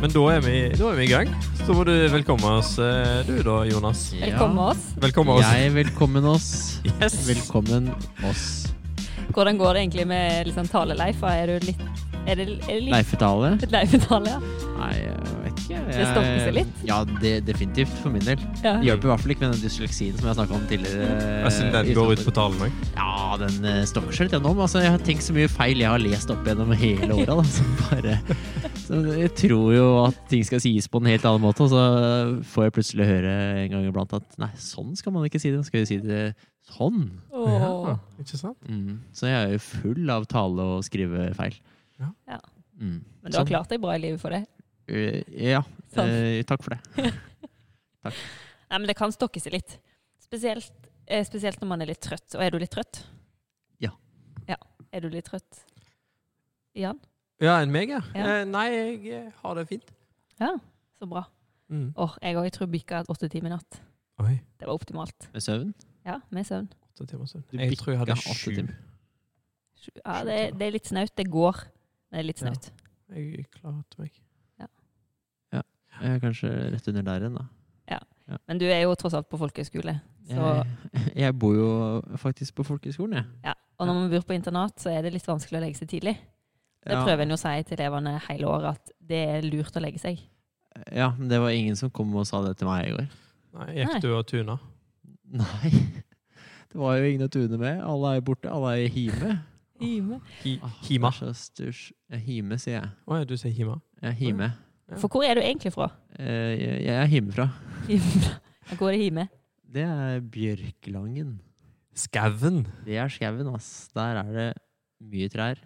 Men da er, vi, da er vi i gang. Så må du velkomme oss, eh, du da, Jonas. Velkommen oss. Velkommen oss. Jeg velkommen oss. Yes. Velkommen oss. Hvordan går det egentlig med liksom, taleleif? Er du litt Er det, er det litt Leifetale? litt leifetale? Ja. Nei, jeg vet ikke. Jeg, Det stopper seg litt? Ja, det, definitivt. For min del. Ja. Det hjelper i hvert fall ikke med den dysleksien som jeg snakka om tidligere. Jeg synes eh, den går ut på talen òg. Ja, den eh, stokker seg litt gjennom. Altså, jeg har tenkt så mye feil jeg har lest opp gjennom hele året. Da, som bare, så jeg tror jo at ting skal sies på en helt annen måte, og så får jeg plutselig høre en gang iblant at nei, sånn skal man ikke si det. Man skal jo si det sånn. Åh. ikke sant? Mm. Så jeg er jo full av tale- og skrivefeil. Ja. Ja. Mm. Men du har Sånn. klart deg bra i livet for det. Eh, ja. Sånn. Eh, takk for det. Nei, men det kan stokke seg litt. Spesielt, eh, spesielt når man er litt trøtt. Og er du litt trøtt? Ja. Ja. Er du litt trøtt? Jan? Ja, enn meg, ja. Ja. Eh, nei, jeg eh, har det fint. Ja. Så bra. Mm. Åh, jeg òg. Jeg tror bikka åtte timer i natt. Oi, Det var optimalt. Med søvn? Ja, med søvn. åtte timer siden. Du Jeg tror jeg hadde bikka åtte sju. timer. Sju- Ja, det, er- det er litt snaut. Det går, men det er litt Ja. snaut. Jeg klarte meg. Eh, kanskje rett under der igjen, da. Men du er jo tross alt på folkehøyskole. Så Jeg, jeg bor jo faktisk på folkehøyskolen, jeg. Ja, og når man bor på internat, så er det litt vanskelig å legge seg tidlig. Det Ja. prøver en jo å si til elevene hele året, at det er lurt å legge seg. Ja, men det var ingen som kom og sa det til meg i går. Nei, Nei. Gikk du og tuna? Nei. Det var jo ingen å tune med. Alle er jo borte. Alle er i hime. Hi, Ah, hima. det er så sturs- Ja, hime, sier jeg. Å ja, du sier hima. Ja, hime. For hvor er du egentlig fra? Eh, jeg, jeg er hjemmefra. Jeg går i Hime. Det er Bjørklangen. Skauen. Det er skauen, ass. Der er det mye trær,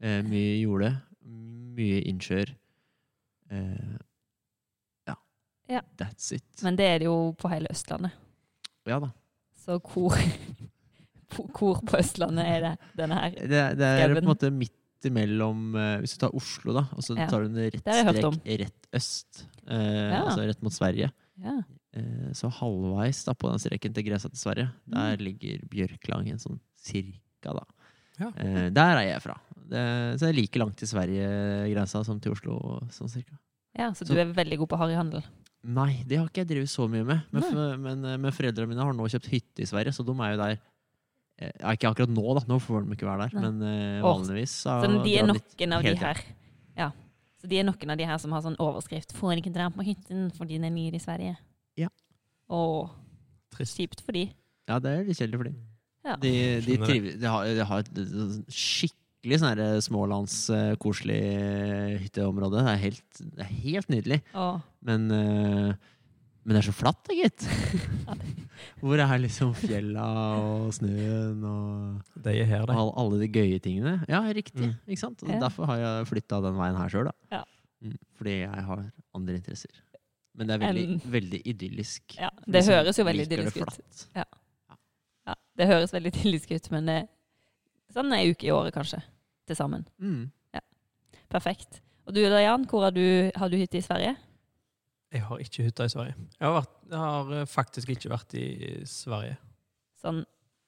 eh, mye jorde, mye innsjøer. Eh, ja. Ja. That's it. Men det er det jo på hele Østlandet. Ja da. Så hvor, hvor på Østlandet er det denne her? Det, det er på Skauen. en måte midt imellom eh, Hvis du tar Oslo, da, og så Ja. tar du en rett har jeg hørt strek om. rett øst, eh, Ja. altså rett mot Sverige, Ja. eh, så halvveis da på den streken til grensa til Sverige, Mm. der ligger Bjørklangen sånn cirka, da. Ja. Eh, der er jeg fra. Det, så det er like langt til Sverige-grensa som til Oslo, sånn cirka. ja, så du er veldig god på harryhandel. Nei, det har ikke jeg drevet så mye med. Men, Nei. for, men, eh, men foreldrene mine har nå kjøpt hytte i Sverige, så de er jo der eh, ja, Ikke akkurat nå, da. Nå får de ikke være der. Nei. Men eh, Åh, vanligvis så Så de er drar litt- noen av de hele tiden. her. Ja. Så de er noen av de her som har sånn overskrift 'Får ikke dra på hytten fordi den er ny i Sverige'. Ja. Å, Trist. kjipt for de. Ja, det er litt kjedelig for dem. Ja. De, de, Skjønner det. trives, de, har, de har et eh, skikkelig sånn her smålands eh, koselig eh, hytteområde. Det er helt, det er helt nydelig. Å, Men, eh, men det er så flatt, da, gitt. Ja, Hvor er liksom fjella og snøen og De er her, Og de. all- alle de gøye tingene. Ja, riktig. Mm. Ikke sant? Og Ja. Derfor har jeg flytta den veien her sjøl. Ja. Fordi jeg har andre interesser. Men det er veldig, Enn- veldig idyllisk. ja. For Det de som høres jo veldig liker det idyllisk ut. flatt. Ja, det høres veldig idyllisk ut, men eh, sånn ei uke i året kanskje, til sammen. Mm. Perfekt. Og du da, Jan, hvor har du, har du hytte i Sverige? Jeg har ikke hytta i Sverige. Jeg har, vært, jeg har eh, faktisk ikke vært i Sverige. Sånn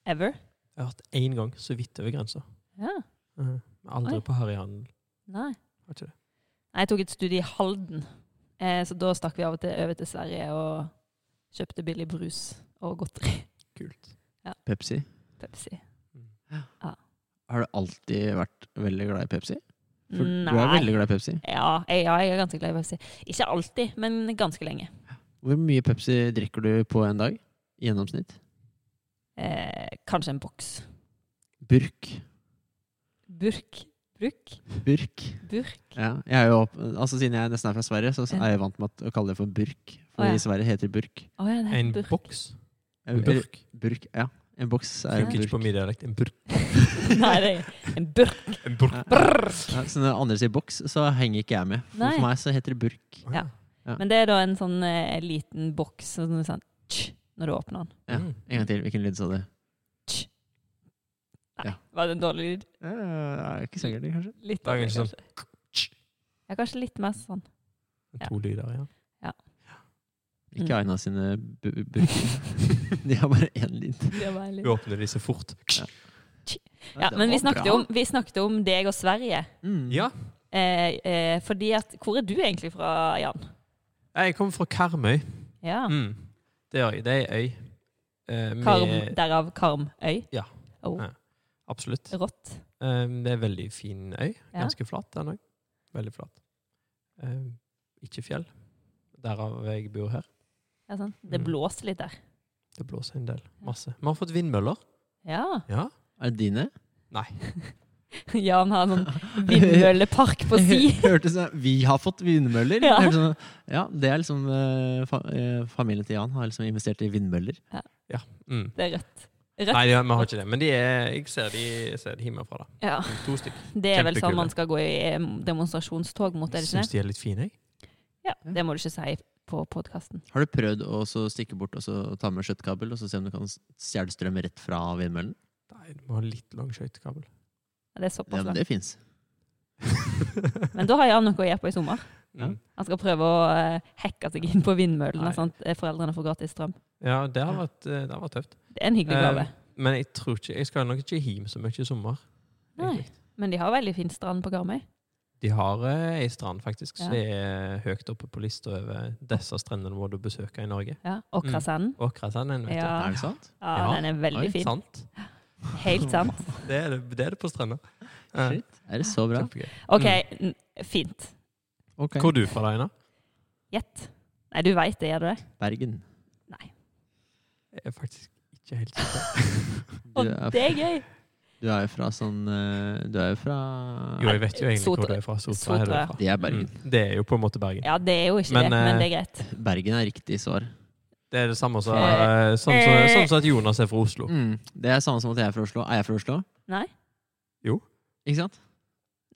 ever? Jeg har vært én gang, så vidt over grensa. Ja. Mm. Mhm. Aldri Oi. på harryhandel. Nei. Har ikke det. Nei, Jeg tok et studie i Halden, eh, så da stakk vi av og til over til Sverige og kjøpte billig brus og godteri. Kult. Pepsi. Pepsi. Har du alltid vært veldig glad i Pepsi? For Du er Nei. veldig glad i Pepsi. Ja, jeg, ja, jeg er ganske glad i Pepsi. Ikke alltid, men ganske lenge. Hvor mye Pepsi drikker du på en dag? I gjennomsnitt? Eh, kanskje en boks. Burk. Burk. Bruk. Burk. Burk. Ja. Jeg er jo, opp- altså, siden jeg nesten er fra Sverige, så Ja. er jeg vant med at- å kalle det for burk. For Å, ja. i Sverige heter det burk. Å ja, det heter En burk. boks. En Eller- burk. Burk, ja. En boks er en Funker ikke på burk. min dialekt. En burk. Nei, det er en burk. En burk. Ja. Ja, så når andre sier boks, så henger ikke jeg med. For, Nei. for meg så heter det burk. Ja. Men det er da en sånn eh, liten boks sånn, sånn tsk, når du åpner den. Ja. Mm. En gang til, hvilken lyd sa du? Tsk. Nei, Ja. var det en dårlig lyd? Eh, ikke så gøy, kanskje. Litt Det er sånn dårlig, kanskje kanskje. Ja, kanskje litt mer sånn. Ja. To lyder, ja. Mm. Ikke Aina sine bu burker. De har bare én lyd. Det var en Du lyd. åpner disse fort. Ja, Det men vi var bra. snakket, jo om, vi snakket om deg og Sverige. Mm. Ja. Eh, eh, fordi at Hvor er du egentlig fra, Jan? Jeg kommer fra Karmøy. Ja. Mm. Det gjør jeg. Det er ei øy. eh, med- Karm, derav Karmøy. Ja. Oh, Ja. Absolutt. rått. Um, det er en veldig fin øy. Ja. Ganske flat, den òg. Veldig flat. Um, ikke fjell. Derav jeg bor her. Ja, sånn. Det Mm. blåser litt der. Det blåser en del. Masse. Vi har fått vindmøller. Ja. Ja. Er det dine? Nei. Jan har en sånn vindmøllepark på si. Hørtes det- sånn, Vi har fått vindmøller. Ja. Hørtes sånn- ja, det er liksom eh, fa eh, Familien til Jan har liksom investert i vindmøller. Mm. Det er rødt. Nei, de har- vi har ikke det. Men de er, jeg ser de, jeg ser de hjemmefra, da. Ja. To stykker. Det er vel sånn Kjempekule. man skal gå i eh, demonstrasjonstog mot, er det ikke Syns det? de er litt fine, jeg. Ja, det må du ikke si på podkasten. Har du prøvd å så stikke bort og så ta med skjøttkabel og så se om du kan s- stjele strøm rett fra vindmøllen? Nei, du må ha litt lang skøytekabel. Det er Ja, såpass men langt. det fins. Men da har Jan noe å gjøre på i sommer. Ja. Mm. Han skal prøve å eh, hacke seg inn på vindmøllene, Nei. sånn at eh, foreldrene får gratis strøm. Ja, det har vært, eh, det har vært tøft. Det er en hyggelig gave. Eh, Men jeg tror ikke Jeg skal nok ikke hjem så mye i sommer. Nei. egentlig. Men de har veldig fin strand på Karmøy. De har eh, ei strand, faktisk, Ja. som er høyt oppe på lista over disse strendene må du besøke i Norge. Ja. Åkrasanden. Åkrasanden, Mm. vet du. Ja. Er det sant? Ja, Ja. den er veldig Oi, fin. Sant. Helt sant. Det er det, det, er det på strender. Ja. Shit. Er det så bra? Kjempegøy. OK, Mm. n- fint. Ok. Hvor er du fra, Aina? Gjett. Nei, du veit det, gjør du det? Bergen. Nei. Jeg er faktisk ikke helt sikker. Du Og er, det er gøy! du er jo fra sånn eh, Du er jo fra Jo, jeg vet jo egentlig hvor Sotra- du er fra. Sotra, Sotra, er du ja. fra. Det er Bergen. Mm. Det er jo på en måte Bergen. Ja, det er jo ikke Men, det, eh, men det er greit. Bergen er riktig svar. Det er det samme som Eh. eh, sånn som sånn som at Jonas er fra Oslo. Mm. Det er samme som at jeg er fra Oslo. Er jeg fra Oslo? Nei? Ikke sant?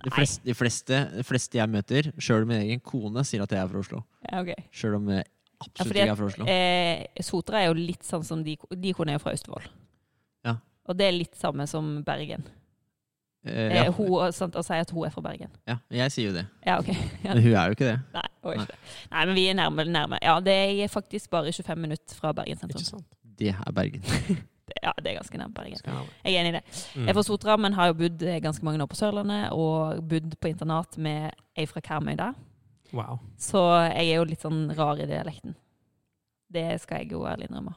De Nei. fleste, de fleste, de fleste jeg møter, sjøl min egen kone, sier at jeg er fra Oslo. Ja, ok. Sjøl om jeg Ja, absolutt fordi ikke er fra at, Oslo. eh, Sotra er jo litt sånn som de, de kona er jo fra Austevoll. Ja. Og det er litt samme som Bergen. Eh, Eh, ja. hun, sant, å si at hun er fra Bergen. ja, jeg sier jo det. Ja, ok. Ja. Men hun er jo ikke det. Nei, hun er ikke det. Nei, men vi er nærme. nærme. Ja, det er faktisk bare 25 minutter fra Bergen Ikke sentrum. sant? Det er Bergen. Det- sånn Ja, det er ganske nærme Bergen. Skal jeg ha det. Jeg er enig i det. Jeg Mm. er fra Sotra, men har jo bodd eh, ganske mange år på Sørlandet, og bodd på internat med ei fra Karmøy der. Wow. Så jeg er jo litt sånn rar i dialekten. Det skal jeg jo ærlig innrømme.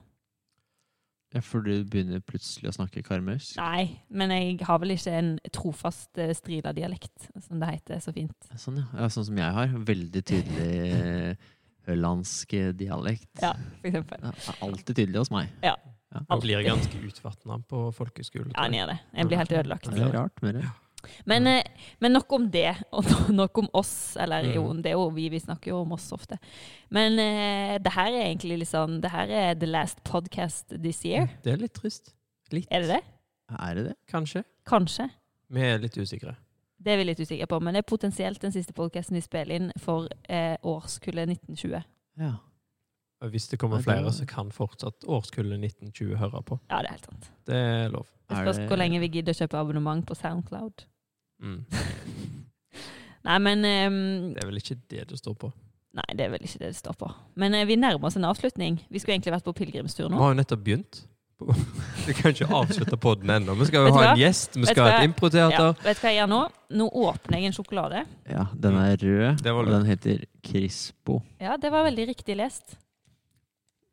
Ja, For du begynner plutselig å snakke karmøysk? Nei, men jeg har vel ikke en trofast eh, strila dialekt, som det heter så fint. Sånn, ja. ja. Sånn som jeg har. Veldig tydelig eh, ørlandsk eh, dialekt. Ja, for eksempel. Ja, er Alltid tydelig hos meg. Ja. Ja. Han blir ganske utvatna på folkehøyskole. Ja, tror den jeg. gjør det. En blir helt ødelagt. Er det rart med det? Men, eh, men nok om det, og no- nok om oss. Eller Mm. jo, det er jo vi, vi snakker jo om oss ofte. Men eh, det her er egentlig litt sånn Det her er the last podcast this year. Det er litt trist. Litt, Er det det? Er det det? kanskje. Kanskje. Vi er litt usikre. Det er vi litt usikre på, men det er potensielt den siste podcasten vi spiller inn for eh, årskullet 1920. Ja. Og Hvis det kommer Ja, det- flere, så kan fortsatt årskullet 1920 høre på. Ja, det er helt sant. Det er lov. Det Er spørs det- hvor lenge vi gidder å kjøpe abonnement på Soundcloud. Mm. Nei, men ehm, Det er vel ikke det det står på. Nei, det er vel ikke det det står på. Men eh, vi nærmer oss en avslutning. Vi skulle egentlig vært på pilegrimstur Vi nå. har jo nettopp begynt. Vi kan ikke avslutte podden ennå. Vi skal Vet jo du ha en hva? gjest, vi Vet skal ha du hva? et Ja, improteater. vet du hva jeg gjør nå? Nå åpner jeg en sjokolade. ja. Den er rød, Det var og lurt. den heter Crispo. Ja, det var veldig riktig lest.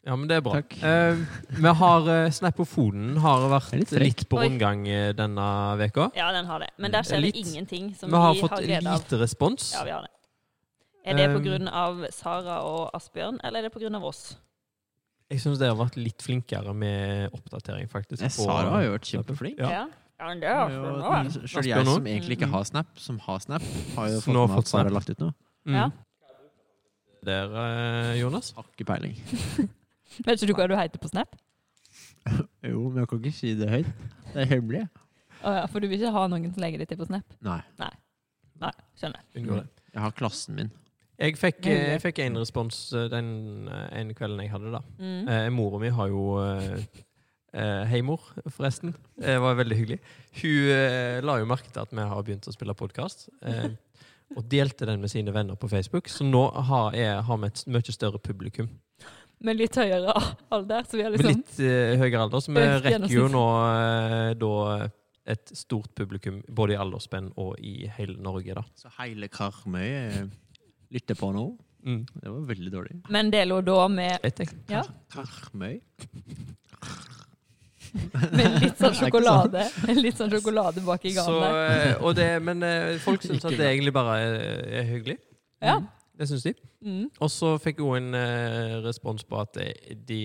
Ja, men det er bra. Takk. Eh, vi har eh, Snappofonen har vært Det litt, er litt frekk. på Oi. rundgang eh, denne veka. Ja, den har det. Men der skjer det Litt. ingenting som Vi har vi fått har glede av. lite respons. Ja, vi har det. Er det Ehm. pga. Sara og Asbjørn, eller er det pga. oss? Jeg syns dere har vært litt flinkere med oppdatering, faktisk. Eh, på- Sara har jo vært kjempeflink. Ja. mm. ja men det Jo, er for nå. Asbjørn Selv jeg nå? som egentlig ikke Mm. har Snap, som har Snap, har jo Så fått nå har med at fått Sara Snap. har lagt ut noe. Mm. Ja. Der, eh, Jonas. Har ikke peiling. Vet ikke du hva du heter på Snap? Jo, men jeg kan ikke si det høyt. Det er hemmelig. Å ja, for du vil ikke ha noen som legger det til på Snap? Nei. Nei, skjønner. Unngår det. Jeg har klassen min. Jeg fikk, eh, jeg fikk en respons eh, den eh, en kvelden jeg hadde, da. Mm. Eh, mora mi har jo eh, eh, Hei, mor, forresten. Det var veldig hyggelig. Hun eh, la jo merke til at vi har begynt å spille podkast. Eh, og delte den med sine venner på Facebook, så nå har, jeg, har vi et mye større publikum. Med litt høyere alder, så vi har Med liksom litt eh, høyere alder, så vi Økt rekker jo nå eh, da et stort publikum både i aldersspenn og i hele Norge. da. Så hele Karmøy eh, lytter på nå. Det var veldig dårlig. Men det lå da med, Jeg tenker, ja, Karmøy? med litt Det er sånn ikke sjokolade Litt sånn sjokolade bak i så, ganen der. eh, og det, men eh, folk syns at det egentlig bare er, er hyggelig. sånn. Ja. Det syns de. Mm. Og så fikk jeg òg en eh, respons på at eh, de,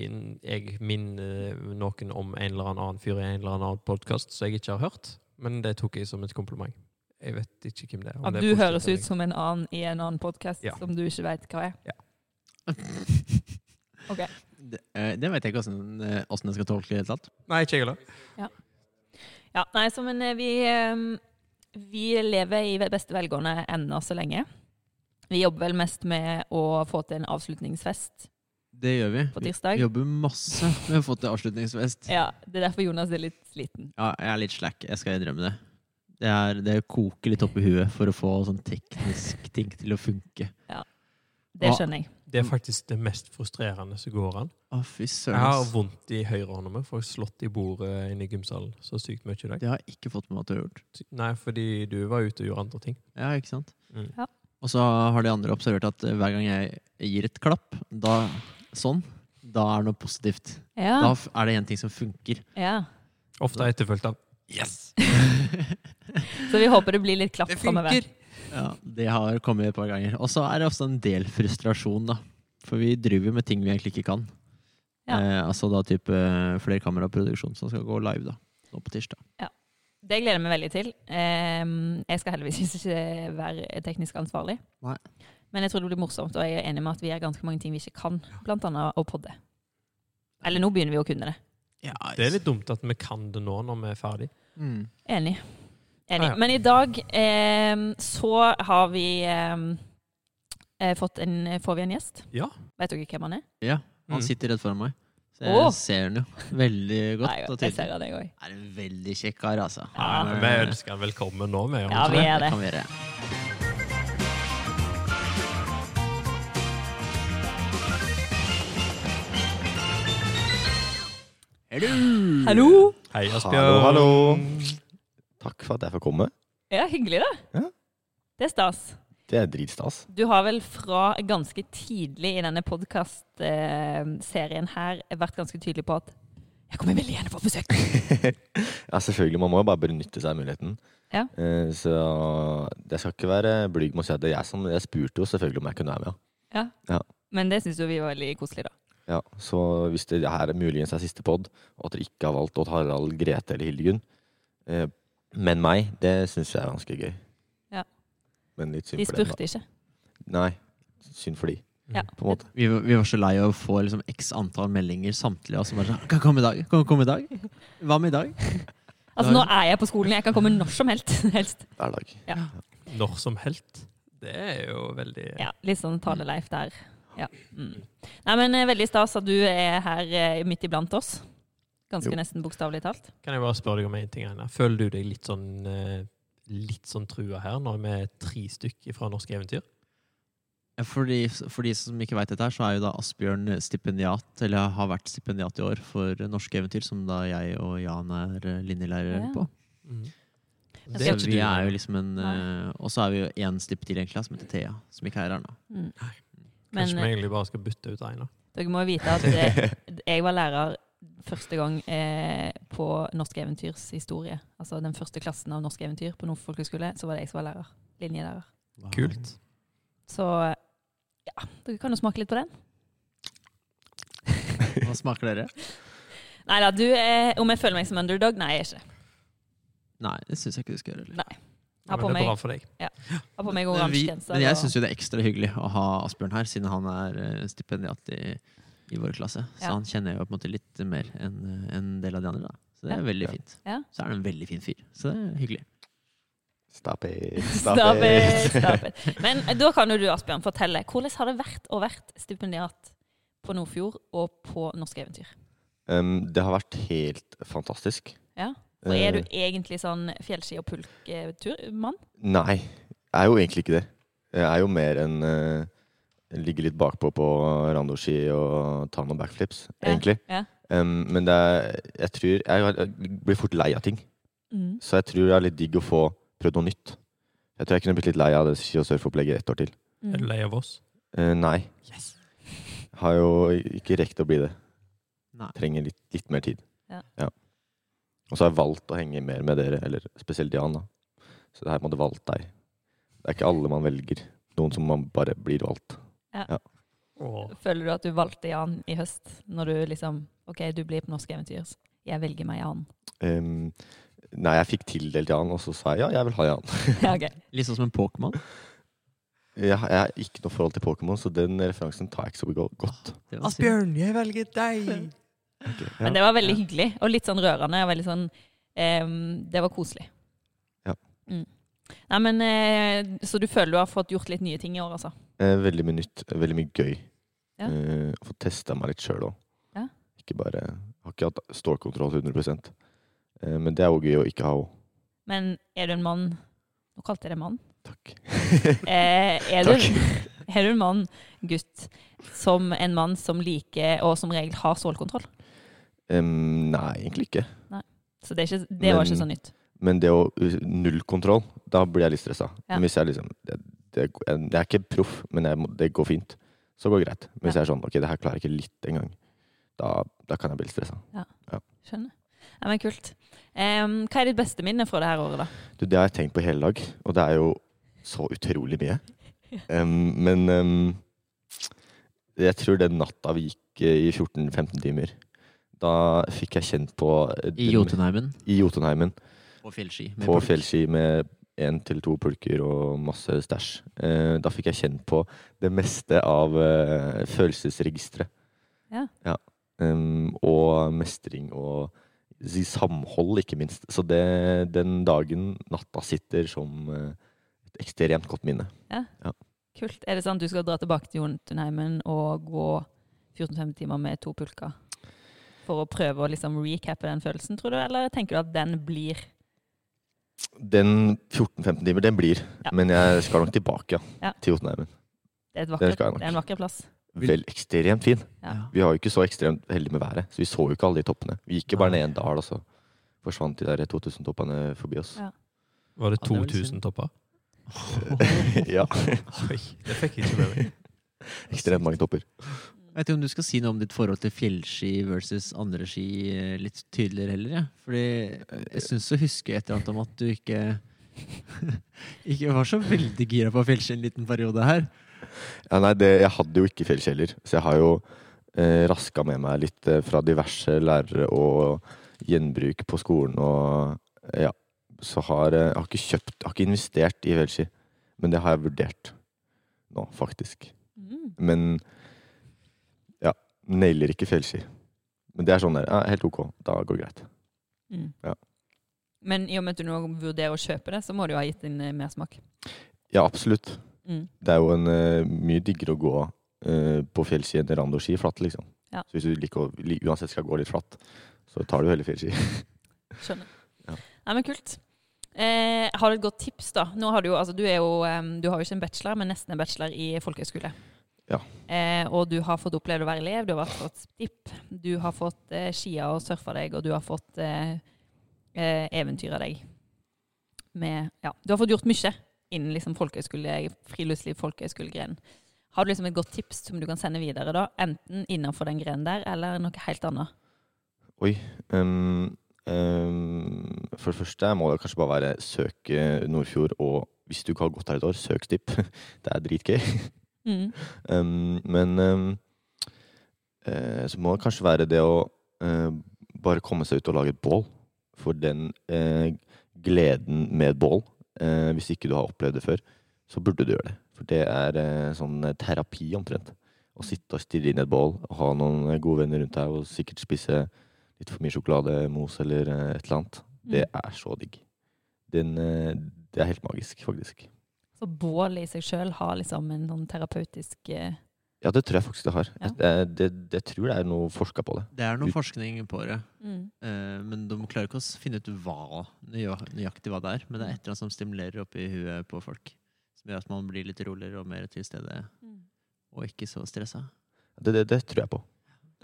jeg minner noen om en eller annen fyr i en eller annen podkast som jeg ikke har hørt. Men det tok jeg som et kompliment. Jeg vet ikke hvem det er. om At det er du positivt høres eller ut som en annen i en annen podkast Ja. som du ikke veit hva er. Ok. Det, eh, det vet jeg ikke åssen eh, åssen jeg skal tolke i det hele tatt. ikke. Nei, ikke jeg heller. Ja, nei, så men eh, vi, eh, vi lever i beste velgående ennå så lenge. Vi jobber vel mest med å få til en avslutningsfest Det gjør vi. på Vi- tirsdag. Vi jobber masse med å få til avslutningsfest. Ja, Det er derfor Jonas er litt sliten. Ja, jeg er litt slack. Jeg skal innrømme det. Det, er, det koker litt opp i huet for å få sånn teknisk ting til å funke. Det skjønner jeg. Det er faktisk det mest frustrerende som går an. Å, fy Jeg har søren. ass. vondt i høyrehånda mi, for jeg har slått i bordet inne i gymsalen så sykt mye i dag. Det har jeg ikke fått med meg at du har gjort. Nei, fordi du var ute og gjorde andre ting. Ja, ikke sant? Mm. Ja. Og så har de andre observert at eh, hver gang jeg gir et klapp, da sånn, da er det noe positivt. Da Ja, f- er det én ting som funker. ja. Ofte etterfulgt av Yes! Så vi håper det blir litt klapp framover. ja, det har kommet et par ganger. Og så er det også en del frustrasjon, da. For vi driver jo med ting vi egentlig ikke kan. Ja. Eh, altså da type flerkameraproduksjon som skal gå live, da. Nå på tirsdag. Det gleder jeg meg veldig til. Ehm, Jeg skal heldigvis ikke være teknisk ansvarlig. Nei. Men jeg tror det blir morsomt, og jeg er enig med at vi gjør ganske mange ting vi ikke kan. Blant annet å podde. Eller nå begynner vi å kunne det. Det er litt dumt at vi kan det nå når vi er ferdig. altså. mm. Enig. Enig. Ja, ja. Men i dag ehm, så har vi ehm, eh, fått en Får vi en gjest? Ja. Vet dere hvem han er? Ja, han Mm. sitter rett foran meg. Så jeg Åh. ser han jo veldig godt. Nei, og tydelig. jeg ser han, jeg òg. Er en veldig kjekk kar, altså. Ja. Vi ønsker han velkommen nå. Vi, Ja, vi er det. kan vi gjøre. Hello! Mm. Hallo! Hei, Hallo, Asbjørn. hallo. Takk for at jeg får komme. Ja, hyggelig, da. Ja. Det er stas. Det er dritstas. Du har vel fra ganske tidlig i denne podkast-serien her vært ganske tydelig på at jeg kommer veldig gjerne på besøk. Ja, selvfølgelig. Man må jo bare benytte seg av muligheten. Ja. Eh, Så jeg skal ikke være blyg med å si at det er jeg som Jeg spurte jo selvfølgelig om jeg kunne være med. Ja. Ja. Men det syns jo vi var veldig koselig, da. Ja, så hvis det her er muligens er siste pod, og at dere ikke har valgt Odd Harald, Grete eller Hildegunn, eh, men meg, det syns jeg er ganske gøy. Ja. Men litt synd De for dem, da. spurte ikke. Nei, synd for de, Ja. Mm, på en måte. Vi, var- vi var så lei av å få liksom x antall meldinger samtlige. Og så bare sånn Kan jeg komme i dag? Kan jeg komme i dag? Hva med i dag? Altså, nå er jeg på skolen. Jeg kan komme når som helst. helst. Hver dag. Når som helst. Det er jo veldig Ja, litt sånn taleleif der. Ja. Mm. Nei, men eh, veldig stas at du er her eh, midt iblant oss. Ganske Jo. nesten bokstavelig talt. Kan jeg bare spørre deg om en ting? Einar? Føler du deg litt sånn eh, Litt sånn trua her, når vi er tre stykker fra Norske Eventyr? For de, for de som ikke veit dette, her, så er jo da Asbjørn stipendiat, eller har vært stipendiat i år for Norske Eventyr, som da jeg og Jan er eh, linjelærer Ja. på. Det skal- er Så ikke vi du. er jo liksom en eh, Og så er vi jo én stipp til, egentlig, som heter Thea, som ikke er her nå. Mm. Nei. Men Kanskje vi eh, egentlig bare skal bytte ut Einar? dere må jo vite at eh, jeg var lærer første gang eh, på Norsk Eventyrs historie. Altså den første klassen av Norsk Eventyr på Nordfor folkehøgskole. Så var det jeg som var lærer. Linjelærer. Kult. Så eh, ja, dere kan jo smake litt på den. Hva smaker dere? Nei da, du eh, Om jeg føler meg som underdog? Nei, jeg er ikke. Nei, det syns jeg ikke du skal gjøre. heller. Ja, Har på men det meg, er bra for deg. har på meg Men vi- oransje genser. Men jeg og- syns jo det er ekstra hyggelig å ha Asbjørn her, siden han er eh, stipendiat i, i vår klasse. Så Ja. han kjenner jeg jo på en måte litt mer enn eh, en del av de andre. da. Så det er veldig Ja. fint. Ja. Så er han en veldig fin fyr. Så det er hyggelig. Stop it. Stop it, stop it. Men eh, da kan jo du, Asbjørn, fortelle. Hvordan har det vært å være stipendiat på Nordfjord og på Norske Eventyr? Um, det har vært helt fantastisk. Ja? Og er Eh, du egentlig sånn fjellski- og pulketurmann? Nei, jeg er jo egentlig ikke det. Jeg er jo mer en eh, ligge litt bakpå på randoski og ta noen backflips, Ja, egentlig. ja. Um, men det er, jeg tror jeg, jeg blir fort lei av ting. Mm. Så jeg tror det er litt digg å få prøvd noe nytt. Jeg tror jeg kunne blitt litt lei av det ski- og surfopplegget ett år til. Er du Mm. lei av oss? Eh, nei. Yes. Har jo ikke rekt å bli det. Nei. Trenger litt, litt mer tid. Ja. Og så har jeg valgt å henge mer med dere, eller spesielt Jan, da. Så det her må du valgt deg. Det er ikke alle man velger. Noen som man bare blir valgt. Åh. Føler du at du valgte Jan i høst, når du liksom OK, du blir på Norske Eventyr. Jeg velger meg Jan. Ehm, nei, jeg fikk tildelt Jan, og så sa jeg ja, jeg vil ha Jan. Ja, ok. Litt sånn som en Pokémon. Jeg, har- jeg har ikke noe forhold til Pokémon, så den referansen tar jeg ikke så go- godt. Det var synd. Asbjørn, jeg velger deg! Ok, ja. Men det var veldig hyggelig, og litt sånn rørende. Og veldig sånn ehm, Det var koselig. Ja. Mm. Nei, men eh, Så du føler du har fått gjort litt nye ting i år, altså? Eh, veldig mye nytt, veldig mye gøy. Ja. Eh, Få testa meg litt sjøl òg. Ja. Ikke bare Har ikke hatt stålkontroll 100 eh, Men det er jo gøy å ikke ha òg. Men er du en mann Nå kalte jeg deg mann. Takk. Eh, er, du, er du en mann, gutt, som en mann som liker, og som regel har stålkontroll? Em, nei, egentlig ikke. Så det, er ikke, det var Men- ikke så nytt. Men det å null kontroll, da blir jeg litt stressa. Ja. Men Hvis jeg liksom det, det, jeg, jeg er ikke proff, men jeg, må- det går fint. Så går det greit. Men hvis Ja. jeg er sånn Ok, det her klarer jeg ikke litt engang. Da, da kan jeg bli litt stressa. Skjønner. Ja, men kult. Em, hva er ditt beste minne fra det her året, da? Du, det har jeg tenkt på i hele dag, og det er jo så utrolig mye. Em, men em, jeg tror den natta vi gikk eh, i 14-15 timer, da fikk jeg kjent på eh, I den- Jotunheimen. i Jotunheimen På fjellski. med på pulk. fjellski med én til to pulker og masse stæsj. Eh, da fikk jeg kjent på det meste av eh, følelsesregisteret. Ja. Em, og mestring og si, samhold, ikke minst. Så det, den dagen, natta, sitter som eh, et ekstremt godt minne. Kult. Er det sånn at du skal dra tilbake til Jotunheimen og gå 14-15 timer med to pulker? For å prøve å liksom recappe den følelsen, tror du? Eller tenker du at den blir Den 14-15 timer, den blir. Ja. Men jeg skal nok tilbake ja, Ja. til Jotunheimen. Det er, et Den vakkert, skal jeg nok. det er en vakker plass. Vil- Vel, ekstremt fin. Ja. Ja. Vi var jo ikke så ekstremt heldige med været, så vi så jo ikke alle de toppene. Vi gikk jo bare Nei. ned en dal, og så forsvant de der 2000-toppene forbi oss. Ja. Var det Ja, det er vel 2000 topper? ja, Oi, det fikk jeg ikke med meg. ekstremt mange topper. Jeg vet ikke om du skal si noe om ditt forhold til fjellski versus andre ski eh, litt tydeligere heller, jeg. Fordi jeg syns å huske et eller annet om at du ikke Ikke var så veldig gira på fjellski en liten periode her. Ja, nei, det, jeg hadde jo ikke fjellkjeller, så jeg har jo eh, raska med meg litt eh, fra diverse lærere og gjenbruk på skolen og eh, ja. Så har eh, jeg har ikke kjøpt, jeg har ikke investert i fjellski, men det har jeg vurdert nå, faktisk. Mm. Men ja, nailer ikke fjellski. Men det er sånn der, ja, helt ok, da går det greit. Mm. Ja. Men i og med at du nå vurderer å kjøpe det, så må det jo ha gitt en eh, mersmak. Ja, absolutt. Mm. Det er jo en eh, mye diggere å gå eh, på fjellski enn randoski flatt, liksom. Ja. Så hvis du liker å, li, uansett skal gå litt flatt, så tar du heller fjellski. Skjønner. Ja. Nei, men kult. Eh, har du et godt tips, da? Nå har du, jo, altså, du, er jo, em, du har jo ikke en bachelor, men nesten en bachelor i folkehøyskole. Ja. Eh, og du har fått oppleve å være elev, du har vært fått stipp, du har fått eh, skia og surfa deg, og du har fått eh, eh, eventyra deg. Med, ja, du har fått gjort mye innen liksom, folkehøyskole, friluftsliv, folkehøyskolegrenen. Har du liksom et godt tips som du kan sende videre, da? Enten innenfor den grenen der, eller noe helt annet? Um, um, for det første må det kanskje bare være søk eh, Nordfjord, og hvis du ikke har gått her et år, søk Stipp. Det er dritgøy. Mm. Um, men um, eh, så må det kanskje være det å eh, bare komme seg ut og lage et bål. For den eh, gleden med et bål, eh, hvis ikke du har opplevd det før, så burde du gjøre det. For det er eh, sånn eh, terapi omtrent. Å sitte og stirre inn i et bål, og ha noen eh, gode venner rundt deg og sikkert spise litt for mye sjokolademos eller eh, et eller annet. Det er så digg. Den, eh, det er helt magisk, faktisk. Så bålet i seg sjøl har liksom en sånn terapeutisk eh, Ja, det tror jeg faktisk det har. Ja. Jeg, det, det tror det er noe forska på det. Det er noe Ut- forskning på det, eh, men de klarer ikke å s- finne ut hva, nøya- nøyaktig hva det er. Men det er et eller annet som stimulerer oppi huet på folk. Som gjør at man blir litt roligere og mer til stede, og ikke så stressa. Det, det, det tror jeg på.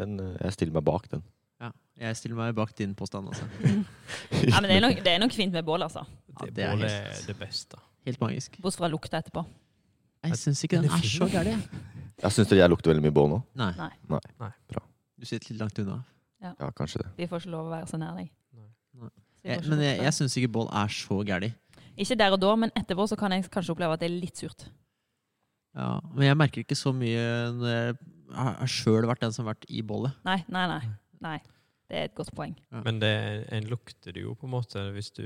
Den, eh, jeg stiller meg bak den. Ja, jeg stiller meg bak din påstand, altså. Ja, men det er, nok, det er nok fint med bål, altså. Ja, Det, det er bålet helt- er det beste. Helt magisk. Bortsett fra lukta etterpå. Jeg syns ikke Den den er er fin. så gæren, jeg. Jeg syns jeg lukter veldig mye bål nå. Nei. Nei. Nei. Nei. Bra. Du sitter litt langt unna. Ja, kanskje det. Vi får ikke lov å være så nær deg. Nei. Nei. Så vi får Jeg, ikke men jeg, lukte. jeg syns ikke bål er så gæren. Ikke der og da, men etterpå så kan jeg kanskje oppleve at det er litt surt. Ja, men jeg merker ikke så mye når jeg jeg har sjøl vært den som har vært i bålet. Nei, nei, nei. nei. Det er et godt poeng. Men det, en lukter det jo på en måte hvis du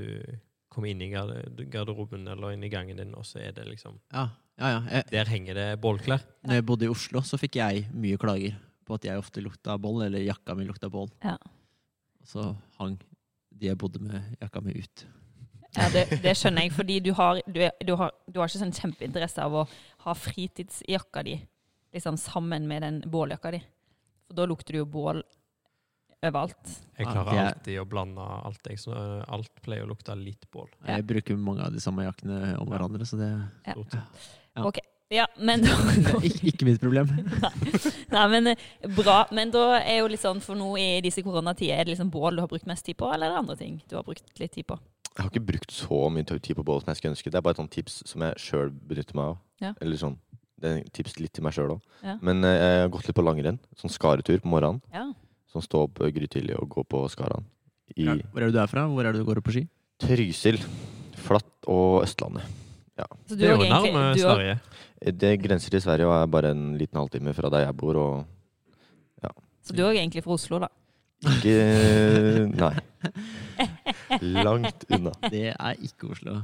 kommer inn i garde- garderoben eller inn i gangen din, og så er det liksom Ja, ja, ja. Jeg, Der henger det bålklær. når jeg bodde i Oslo, så fikk jeg mye klager på at jeg ofte lukta bål, eller jakka mi lukta bål. Ja. Og så hang de jeg bodde med, jakka mi ut. Ja, det, det skjønner jeg, fordi du har, du, er, du, har, du har ikke sånn kjempeinteresse av å ha fritidsjakka di liksom sammen med den båljakka di. For da lukter det jo bål overalt. Jeg Ja, klarer det er- alltid å blande alt. Jeg, så eh, alt pleier å lukte litt bål. Ja. Jeg bruker mange av de samme jakkene om Ja. hverandre, så det stort sett. Ja. OK. Ja, men da det er ikke, ikke mitt problem. Nei, men eh, bra. Men da er jo litt sånn, for nå i disse koronatider, er det liksom bål du har brukt mest tid på, eller er det andre ting du har brukt litt tid på? Jeg har ikke brukt så mye tid på bål som jeg skulle ønske. Det er bare et sånt tips som jeg sjøl benytter meg av. Ja. Eller sånn, det er et tips litt til meg sjøl òg. Ja. Men eh, jeg har gått litt på langrenn. Sånn skaretur på morgenen. Ja. Sånn stå opp eh, grytidlig og gå på Skaran. I Ja. Hvor er det du er fra? Hvor er det du går opp på ski? Trysil. Flatt og Østlandet. Så du Det er òg jo egentlig- nærme du òg- Sverige. Eh, Det grenser til Sverige og er bare en liten halvtime fra der jeg bor, og Så du er òg egentlig fra Oslo, da? ikke Nei. Langt unna. Det er ikke Oslo.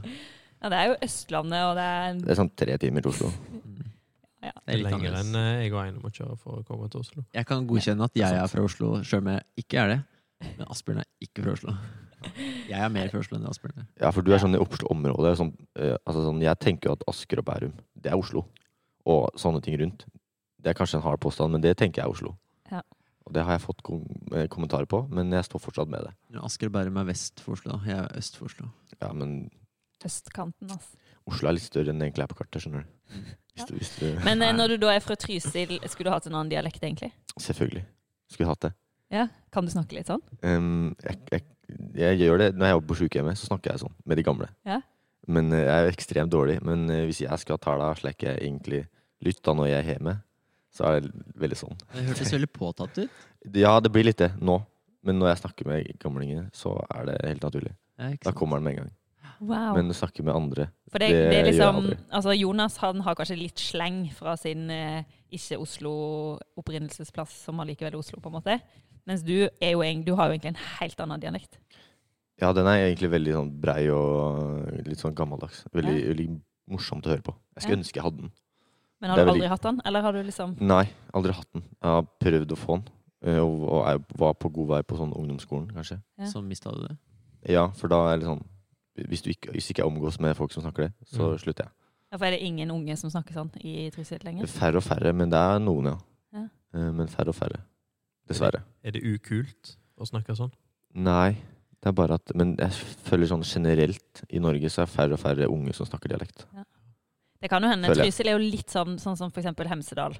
Ja, det er jo Østlandet, og det Det er er sånn tre timer til Oslo. Mm. Det er litt lenger enn annerledes. eh, jeg og Einar må kjøre for å komme til Oslo. Jeg kan godkjenne at jeg er fra Oslo, sjøl om jeg ikke er det. Men Asbjørn er ikke fra Oslo. Jeg er mer fra Oslo enn Asbjørn er. Ja, for du er sånn i Oslo-området. Sånn, eh, altså sånn, jeg tenker jo at Asker og Bærum, det er Oslo. Og sånne ting rundt. Det er kanskje en hard påstand, men det tenker jeg er Oslo. Ja. Og det har jeg fått kom eh, kommentarer på, men jeg står fortsatt med det. Men Asker og Bærum er vest for Oslo, da. jeg er øst for Oslo. Ja, men østkanten, altså. Oslo er litt større enn det egentlig er på kartet, skjønner du. Hvis du, hvis du Men eh, når du da er fra Trysil, skulle du hatt en annen dialekt, egentlig? Selvfølgelig. Skulle hatt det. Ja, Kan du snakke litt sånn? Ehm, jeg, jeg, jeg gjør det når jeg jobber på sykehjemmet, så snakker jeg sånn med de gamle. Ja. Men eh, jeg er ekstremt dårlig. Men eh, hvis jeg skal ta det slik jeg egentlig lytter når jeg er hjemme, så er det veldig sånn. Det hørtes veldig påtatt ut. Ja, det blir litt det nå. Men når jeg snakker med gamlingene, så er det helt naturlig. Ja, ikke Da sant? kommer den med en gang. Wow. Men å snakke med andre For det, det, det er gjør jeg liksom aldri. Altså, Jonas han har kanskje litt sleng fra sin eh, ikke-Oslo-opprinnelsesplass, som allikevel er Oslo, på en måte. Mens du, er jo, eng- du har jo egentlig en helt annen dialekt. Ja, den er egentlig veldig sånn brei og litt sånn gammeldags. Veldig, veldig morsomt å høre på. Jeg skulle Ja. ønske jeg hadde den. Men har Det du er aldri veldig- hatt den? Eller har du liksom Nei, aldri hatt den. Jeg har prøvd å få den. eh, Og og jeg var på god vei på sånn ungdomsskolen, kanskje. Ja. Så mista du det. Ja, for da er det sånn Hvis, du ikke, hvis ikke jeg omgås med folk som snakker det, så Mm. slutter jeg. ja, For er det ingen unge som snakker sånn i Trysil Det lenger? er Færre og færre, men det er noen, ja. Ja. Eh, Men færre og færre. Dessverre. Er det ukult å snakke sånn? Nei. Det er bare at Men jeg føler sånn generelt i Norge så er færre og færre unge som snakker dialekt. Det kan jo hende. Føler jeg. Trysil er jo litt sånn, sånn som f.eks. Hemsedal,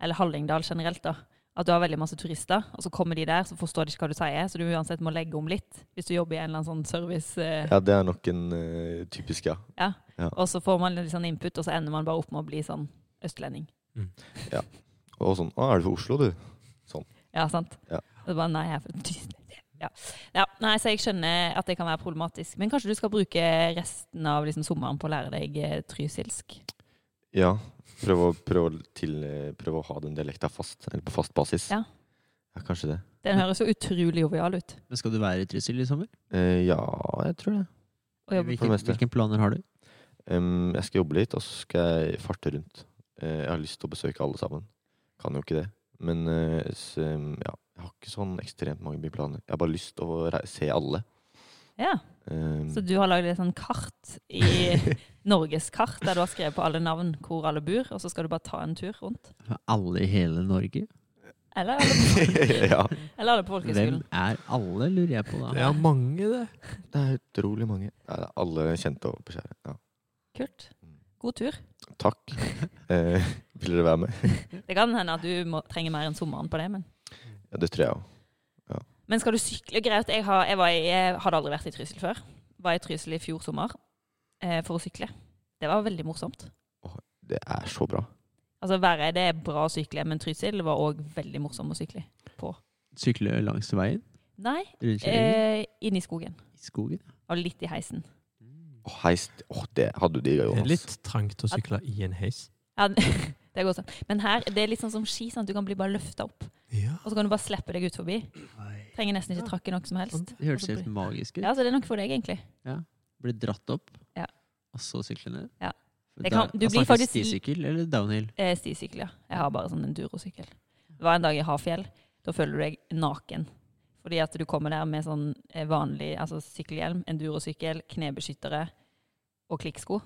eller Hallingdal generelt. da. At du har veldig masse turister, og så kommer de der, så forstår de ikke hva du sier, så du uansett må legge om litt hvis du jobber i en eller annen sånn service. eh, Ja, det er nok en eh, typisk, ja. Og så får man litt sånn input, og så ender man bare opp med å bli sånn østlending. Og sånn Å, er du fra Oslo, du? Ja, sant? Ja. Og så bare, nei, jeg er fra Tysnes. ja. ja, nei, så jeg skjønner at det kan være problematisk. Men kanskje du skal bruke resten av liksom, sommeren på å lære deg eh, trysilsk? Ja. Prøv å, prøv å, til, eh, prøv å ha den dialekta fast, eller på fast basis. Ja. ja kanskje det. Den høres jo utrolig jovial ut. Men skal du være i Trysil i sommer? Eh, ja, jeg tror å det. jobbe For Hvilke, det meste. hvilke planer har du? Em, jeg skal jobbe litt, og så skal jeg farte rundt. Eh, jeg har lyst til å besøke alle sammen. Kan jo ikke det. Men eh, s- em, ja, jeg har ikke sånn ekstremt mange byplaner. Jeg har bare lyst til å rei- se alle. Ja, Em, Så du har lagd et sånn kart i norgeskart, der du har skrevet på alle navn hvor alle bor, og så skal du bare ta en tur rundt? Alle i hele Norge? Eller alle, ja. eller alle på Hvem folkehøyskolen? er alle, lurer jeg på da. Det er mange, det. Det er utrolig mange. Nei, det er alle kjente og beskjære. Ja. Kult. God tur. Takk. Eh, vil dere være med? Det kan hende at du må, trenger mer enn sommeren på det, men Ja, det tror jeg òg. Men skal du sykle Greit, jeg, har, jeg, var, i- jeg hadde aldri vært i Trysil før. Var i Trysil i fjor sommer eh, for å sykle. Det var veldig morsomt. Det er så bra. Altså Væreide er bra å sykle, men Trysil var òg veldig morsom å sykle. Sykle langs veien? Nei, Rundkjøring? eh, inne i skogen. I skogen? Og litt i heisen. Mm. Å, heis Å, det hadde du Det digga, er Jonas. litt trangt å sykle i en heis. Ja, det går sånn. Men her det er litt sånn som ski. Sant? Du kan bli bare løfta opp, Ja. og så kan du bare slippe deg ut forbi. Det Trenger nesten ikke trakke noe som helst. hørtes helt magisk ut. Ja, så det er nok for deg, egentlig. Ble dratt opp, Ja. og så sykle ned. Ja. For Det kan- da- altså, du da blir snakkes faktisk- Stisykkel eller downhill? Eh, stisykkel, ja. Jeg har bare sånn endurosykkel. Det var en dag i Hafjell. Da føler du deg naken. Fordi at du kommer der med sånn eh, vanlig altså sykkelhjelm, endurosykkel, knebeskyttere og klikksko.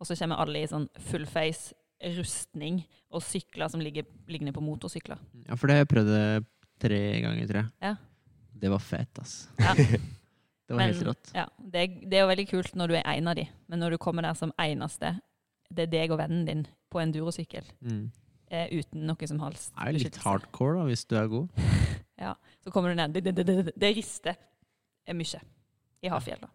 Og så kommer alle i sånn full face, rustning og sykler som ligger liggende på motorsykler. Ja, for det har jeg prøvd det tre ganger, tror jeg. Ja. Det var fett, ass. Ja. Det var Men- helt rått. Ja, det, det er jo veldig kult når du er en av de, men når du kommer der som eneste, det er deg og vennen din på endurosykkel Mm. eh, uten noe som helst Det er jo litt beskyttelse. hardcore, da, hvis du er god. Så kommer du ned. Det, det, det, det, det rister eh, mye i Hafjell, da.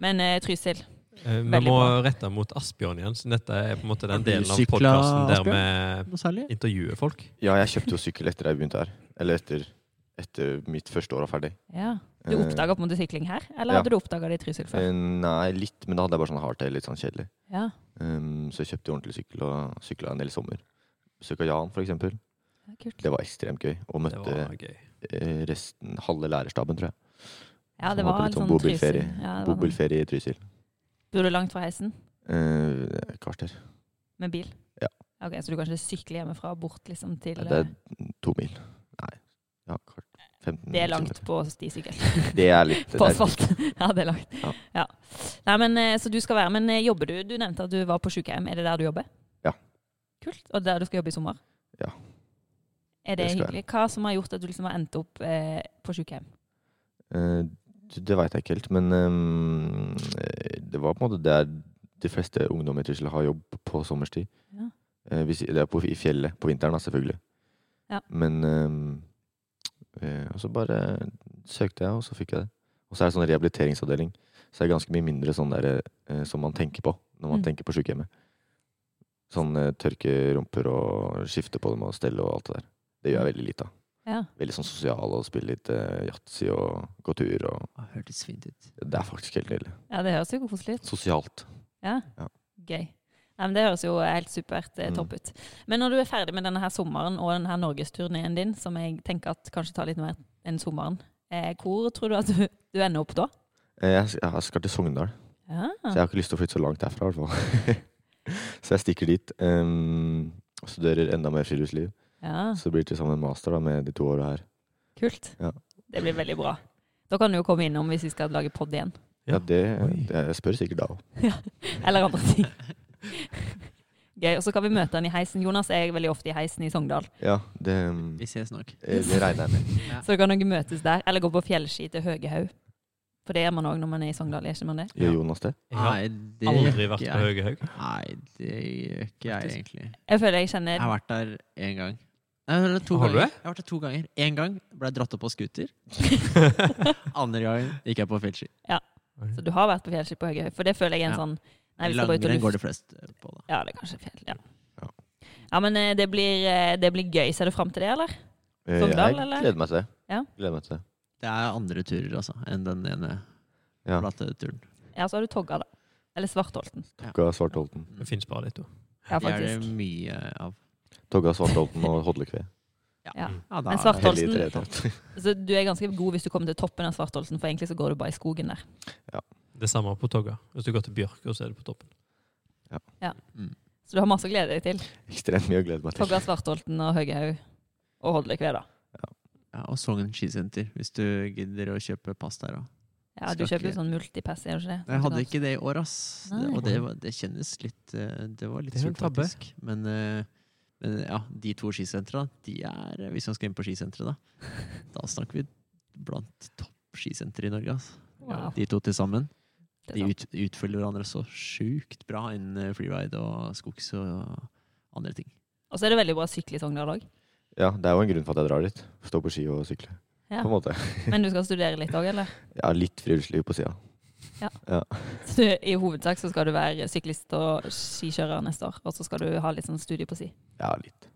Men eh, Trysil Eh, Vi Veldig må bra. rette mot Asbjørn igjen, så dette er på en måte den Har du delen av syklet, podkasten der vi Noe særlig? intervjuer folk. Ja, jeg kjøpte jo sykkel etter jeg begynte her. Eller etter, etter mitt første år var ferdig. ja. Du Eh, oppdaga på en måte sykling her, eller ja. hadde du oppdaga det i Trysil før? eh, Nei, litt, men da hadde jeg bare sånn hardtail, litt sånn kjedelig. Ja. Um, så jeg kjøpte ordentlig sykkel og sykla en del i sommer. Besøk av Jan, for eksempel. ja, kult. Det var ekstremt gøy. Og Det møtte var gøy. eh, resten, halve lærerstaben, tror jeg. Ja, det som var hadde litt sånn bobilferie. Trysil. Ja, det var sånn. Bobilferie i Trysil. Bor du langt fra heisen? Eh, et kvarter. Med bil? Ja. Ok, Så du kan ikke sykle hjemmefra og bort liksom til Nei, det eh, er to mil. Nei, ja, kvart. 15 Det er langt kilometer. på stisykkel. Det er litt det På er- asfalt. Ja, det er langt. Ja. Ja. Nei, men, eh, så du skal være, men eh, jobber du? Du nevnte at du var på sykehjem. Er det der du jobber? Ja. Kult. Og der du skal jobbe i sommer? Ja. Er Det det, skal jeg. hyggelig? Hva som har gjort at du liksom har endt opp eh, på sykehjem? Eh, det- det veit jeg ikke helt, men ehm, eh, det var på en måte der de fleste ungdommer i Trysil har jobb på sommerstid. Ja. Eh, hvis, det er på, i fjellet på vinteren, da, selvfølgelig. Ja. Men ehm, eh, Og så bare søkte jeg, og så fikk jeg det. Og så er det sånn rehabiliteringsavdeling. Så er det ganske mye mindre sånn der, eh, som man tenker på når man Mm. tenker på sykehjemmet. Sånn eh, tørke rumper og skifte på dem og stelle og alt det der. Det Mm. gjør jeg veldig lite av Ja. veldig sånn sosial og spille litt eh, yatzy og gå tur. Og Å, Hørtes fint ut. det er faktisk helt nydelig. ja, det høres jo koselig ut. Sosialt. Ja. Ja. Gøy. Nei, men Det høres jo helt supert eh, Mm. topp ut. Men når du er ferdig med denne her sommeren og denne her norgesturneen din, som jeg tenker at kanskje tar litt mer enn sommeren, eh, hvor tror du at du, du ender opp da? Eh, Jeg, sk- jeg skal til Sogndal, Ja. så jeg har ikke lyst til å flytte så langt derfra. i hvert fall. så jeg stikker dit. em, og studerer enda mer friluftsliv. ja. Så blir det til sammen master da, med de to åra her. Kult. Ja. Det blir veldig bra. Da kan du jo komme innom hvis vi skal lage pod igjen. Ja. Ja, det, eh, Oi. det, jeg spør sikkert da òg. Eller andre ting. Gøy. Og så kan vi møte han i heisen. Jonas er veldig ofte i heisen i Sogndal. Ja, det, em, Vi ses nok. eh, det regner jeg med. Så kan dere møtes der. Eller gå på fjellski til Høgehaug. For det gjør man òg når man er i Sogndal, gjør ikke man det? Gjør Jonas det? Jeg har det aldri gjør vært ikke på jeg. Høgehaug. Nei, det gjør ikke jeg, egentlig. Jeg føler jeg kjenner Jeg har vært der én gang. Nei, jeg har vært der to Har du ganger. det? Jeg har vært der to ganger. Én gang ble jeg dratt opp på scooter. Andre gangen gikk jeg på fjellski. Så du har vært på fjellski på Høgehaug? For det føler jeg er Ja. en sånn Nei, vi skal bare ut og Langrenn lufte. går de fleste på, da. Ja, det er kanskje fjell. Ja. Ja. Ja, men eh, det blir, eh, det blir gøy. Ser du fram til det, eller? Eh, Sogndal, jeg eller? gleder meg til det. Ja. Gleder meg til det. Det er andre turer, altså, enn den ene Ja. flate turen. Ja, så har du Togga, da. Eller Svartholten. Togga Svartholten. Det fins bare de to. Ja, Mm. Det er det faktisk. mye av. Togga Svartholten og Hodlekve. Ja. Ja, da, Men svart- Hellige Svartholten. treetat. Så du er ganske god hvis du kommer til toppen av Svartholten, for egentlig så går du bare i skogen der. Det samme på Togga. Hvis du går til Bjørko, så er det på toppen. Så du har masse å glede deg til. Ekstremt mye å glede meg til. Togga, Svartholten og Høgehaug og Hodlekve, da. ja, og Sogn skisenter, hvis du gidder å kjøpe pass der òg. Ja, du Skal kjøper jo ikke- sånn multipass, gjør du ikke det? Jeg hadde ikke det i år, ass. Det, Nei. og det, var, det kjennes litt eh, Det var litt Det er en surt, tabbe. faktisk. Men, eh, men ja, de to skisentrene, de er eh, Hvis man skal inn på skisenteret, da, da snakker vi blant topp skisenter i Norge, altså. Wow, De to til sammen. det De er sant. ut, utfølger hverandre så sjukt bra innen eh, freeride og skogs og andre ting. Og så er det veldig bra å sykle i Sogndal òg. Ja, det er jo en grunn for at jeg drar dit. Stå på ski og sykle. Ja. på en måte. Men du skal studere litt òg, eller? Jeg har litt friluftsliv på sida. Så du, I hovedsak så skal du være syklist og skikjører neste år, og så skal du ha litt sånn studie på si. Ja, litt.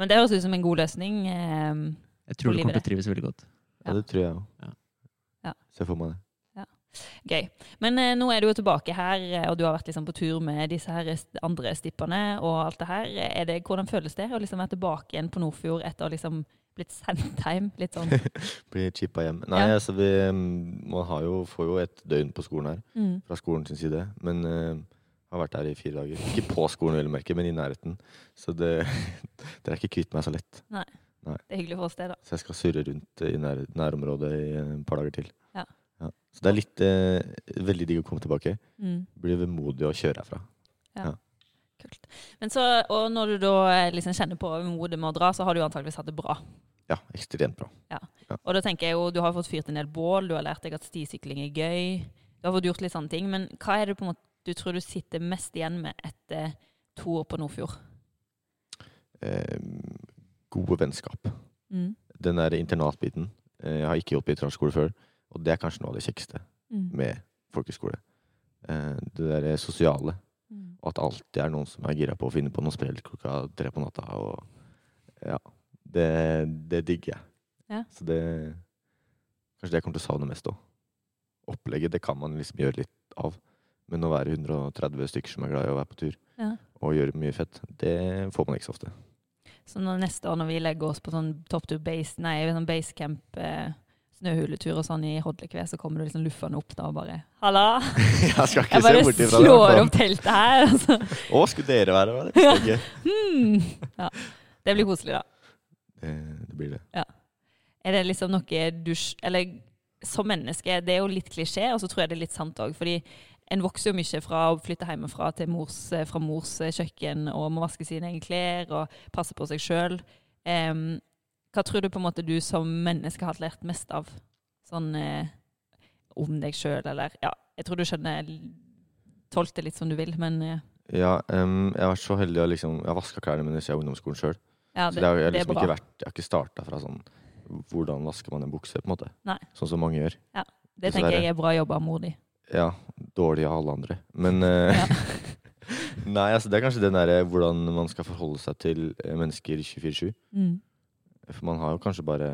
Men det høres ut som en god løsning. ehm, Jeg tror Og du kommer livet. til å trives veldig godt. Ja, Ja. det tror jeg òg. Ja. Ja. Se for meg det. Gøy. Men eh, nå er du jo tilbake her, eh, og du har vært liksom på tur med disse her st- andre stippene og alt det her. Er det, hvordan føles det å liksom være tilbake igjen på Nordfjord etter å liksom blitt sendt hjem? Litt sånn. Blir chippa hjem. Nei, Ja. altså, vi, man har jo, får jo et døgn på skolen her, Mm. fra skolen sin side. Men eh, har vært her i fire dager. Ikke på skolen, vel å merke, men i nærheten. Så det, dere er ikke kvitt meg så lett. Det er hyggelig for oss, det, da. Så jeg skal surre rundt i nær, nærområdet i eh, et par dager til. Ja. Så det er litt eh, veldig digg å komme tilbake. Mm. Blir vemodig å kjøre herfra. Kult. Men så, og når du da eh, liksom kjenner på modet med å dra, så har du jo antakeligvis hatt det bra. Ja, ekstremt bra. Og da tenker jeg jo, du har fått fyrt en del bål, du har lært deg at stisykling er gøy, du har fått gjort litt sånne ting, men hva er det på en måte du tror du sitter mest igjen med etter to år på Nordfjord? Eh, gode vennskap. Den der internatbiten. Eh, jeg har ikke jobbet i internatskole før, og det er kanskje noe av det kjekkeste med folkeskole. Eh, det derre sosiale. Mm. Og at det alltid er noen som er gira på å finne på noe sprell klokka tre på natta. Og ja, det, det digger jeg. Ja. Så det Kanskje det jeg kommer til å savne mest òg. Opplegget det kan man liksom gjøre litt av. Men å være 130 stykker som er glad i å være på tur Ja. og gjøre mye fett, det får man ikke så ofte. Så når neste år når vi legger oss på sånn topptur base, nei, sånn basecamp, eh, snøhuletur og sånn i Hodlekve, så kommer du liksom luffende opp da og bare, halla, Jeg skal jeg ikke se bare bort ifra det. i hvert slår fall. opp teltet her, altså. Å, skulle dere være her? Det, visste jeg ikke. Hmm. Ja. Det blir koselig da. Eh, det blir det. Er det liksom noe du s- Eller som menneske, det er jo litt klisjé, og så tror jeg det er litt sant òg. Fordi en vokser jo mye fra å flytte hjemmefra til mors, eh, fra mors kjøkken og må vaske sine egne klær og passe på seg sjøl. hva tror du på en måte du som menneske har lært mest av? Sånn eh, om deg sjøl, eller Ja, jeg tror du skjønner Tolk det litt som du vil, men eh, Ja, em, jeg har vært så heldig å liksom Jeg har vaska klærne mine siden ungdomsskolen sjøl. ja, Så det, det, har, jeg, har det er liksom bra. ikke vært, jeg har ikke starta fra sånn Hvordan vasker man en bukse, på en måte. Nei. Sånn som mange gjør. det tenker jeg er bra jobba av mor di. Ja, dårlig av alle andre. Men eh, Nei, altså, det er kanskje den derre hvordan man skal forholde seg til eh, mennesker 24-7. Mm. For man har jo kanskje bare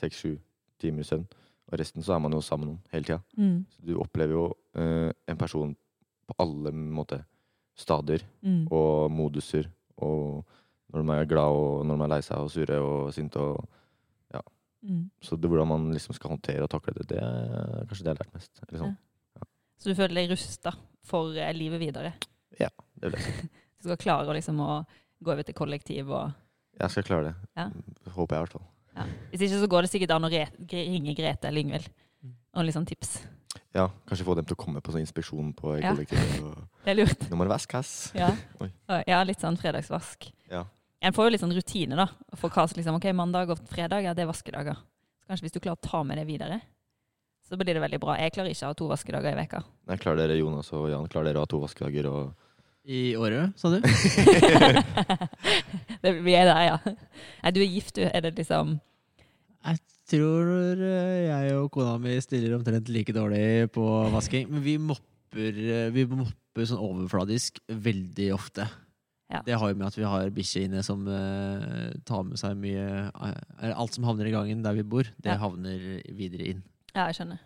seks-sju timer søvn. Og resten så er man jo sammen med noen hele tida. Mm. Så du opplever jo eh, en person på alle måte, stadier Mm. og moduser. Og når de er glad, og når de er lei seg og sure og sinte. Og, Mm. så det, hvordan man liksom skal håndtere og takle det, det er kanskje det jeg har lært mest. Eller sånn. Så du føler deg rusta for eh, livet videre? Ja, det vil jeg Du skal klare å, liksom, å gå over til kollektiv og Jeg skal klare det. Ja. Håper jeg, i hvert fall. Hvis ikke så går det sikkert an å re gre- ringe Grete eller Yngvild Mm. og liksom tips. Ja, kanskje få dem til å komme på sånn inspeksjon på Ja. kollektivet. og Det er lurt. Nå må det vaskes. Ja, Oi. ja litt sånn fredagsvask. Ja. En får jo litt sånn rutine, da. For hva som liksom, ok, mandag og fredag, ja, det er vaskedager. Så kanskje hvis du klarer å ta med det videre, så blir det veldig bra. Jeg klarer ikke å ha to vaskedager i veka. Nei, klarer dere, Jonas og Jan, klarer dere å ha to vaskedager og I året, sa du? det, vi er der, ja. Nei, du er gift, du. Er det liksom tror eh, jeg og kona mi stiller omtrent like dårlig på vasking. Men vi mopper, eh, vi mopper sånn overfladisk veldig ofte. Ja. Det har jo med at vi har bikkje inne som eh, tar med seg mye eh, Alt som havner i gangen der vi bor, det Ja. havner videre inn. Ja, jeg skjønner.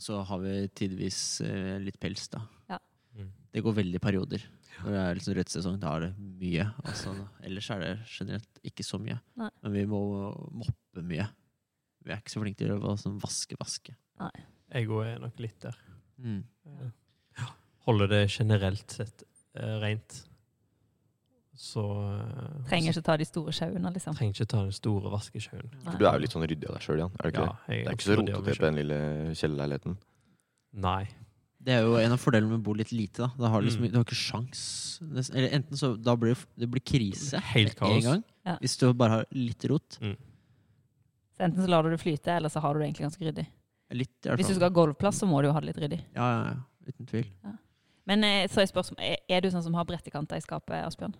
Så har vi tidvis eh, litt pels, da. Ja. Mm. Det går veldig i perioder. Når det er liksom rødt sesong, da er det mye. Altså, ellers er det generelt ikke så mye. Nei. Men vi må moppe mye. Vi er ikke så flinke til å sånn vaske-vaske. Jeg òg er nok litt der. Mm. Holder det generelt sett eh, rent. Så eh, Trenger ikke ta de store sjauene, liksom. trenger ikke ta den store vaskesjauen. Nei. Du er jo litt sånn ryddig av deg sjøl, Jan. Er det ikke Ja, det? jeg Det er ikke så opplever det av rotete meg på selv. den lille kjellerleiligheten. Nei. Det er jo en av fordelene med å bo litt lite. Da, da har du, liksom, Mm. du har ikke sjans. Nesten- Eller enten så da blir det, det blir krise Helt med en kaos. gang, Ja. hvis du bare har litt rot. Så enten så lar du det flyte, eller så har du det egentlig ganske ryddig. Litt, i hvert Hvis du fall. skal ha golvplass, så må du jo ha det litt ryddig. Ja, ja, ja. Uten tvil. Men eh, så er spørsmålet, er- er du sånn som har brettekanter i skapet, Asbjørn?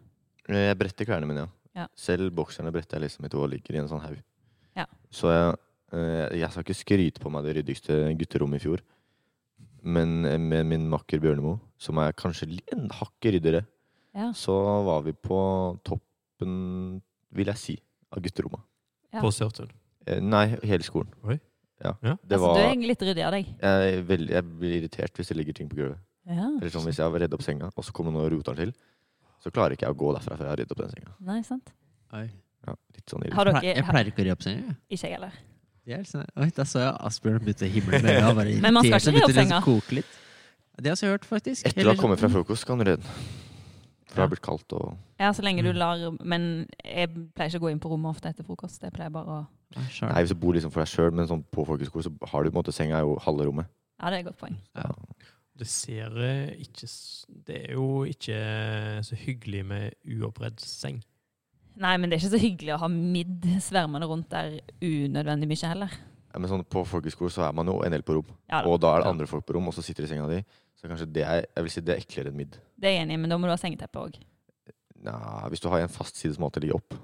Eh, Jeg bretter klærne mine, ja. Ja. Selv bokserne bretter jeg liksom i to og ligger i en sånn haug. Ja. Så jeg, eh, jeg skal ikke skryte på meg det ryddigste gutterommet i fjor. Men eh, med min makker Bjørnemo, som er kanskje li- en hakket ryddere, Ja. så var vi på toppen, vil jeg si, av gutterommet. Ja. På Sørtun. Eh, Nei, hele skolen. Oi. Ja. Ja. Altså, du Det er var egentlig litt ryddig av deg. jeg, er veldig, jeg blir irritert hvis det ligger ting på gulvet. Ja. Eller sånn Hvis jeg har redd opp senga, og så kommer noen og roter den til, så klarer ikke jeg å gå derfra før jeg har redd opp den senga. Nei, sant? Ja, litt sånn irriterende. Har dere Ple- Jeg pleier ikke å re opp senga. jeg. Ikke jeg heller. Det er litt sånn, Oi, da så jeg Asbjørn begynte å himle med øynene. og bare Men man skal irriterte ikke re opp begynte senga. å liksom koke litt. Det har jeg også hørt, faktisk. Etter å Eller ha kommet fra sånn- frokost kan du redde den. For det har blitt kaldt og Ja, så lenge du Mm. lar Men jeg pleier ikke å gå inn på rommet ofte etter frokost. Jeg pleier bare å Nei, skjønner. Nei, hvis du bor liksom for deg sjøl, men sånn på folkehøyskole, så har du på en måte senga er jo halve rommet. Ja, det er et godt poeng. Ja. Det ser eh, ikke s- Det er jo ikke eh, så hyggelig med uoppredd seng. Nei, men det er ikke så hyggelig å ha midd svermende rundt der unødvendig mye heller. Ja, Men sånn på folkehøyskole så er man jo en del på rom, Ja da, og da er det Ja. andre folk på rom, og så sitter de i senga di. Så kanskje det er jeg vil si det er eklere enn midd. det er jeg enig i, men da må du ha sengeteppe òg. Nja, hvis du har en fast side som alltid ligger opp.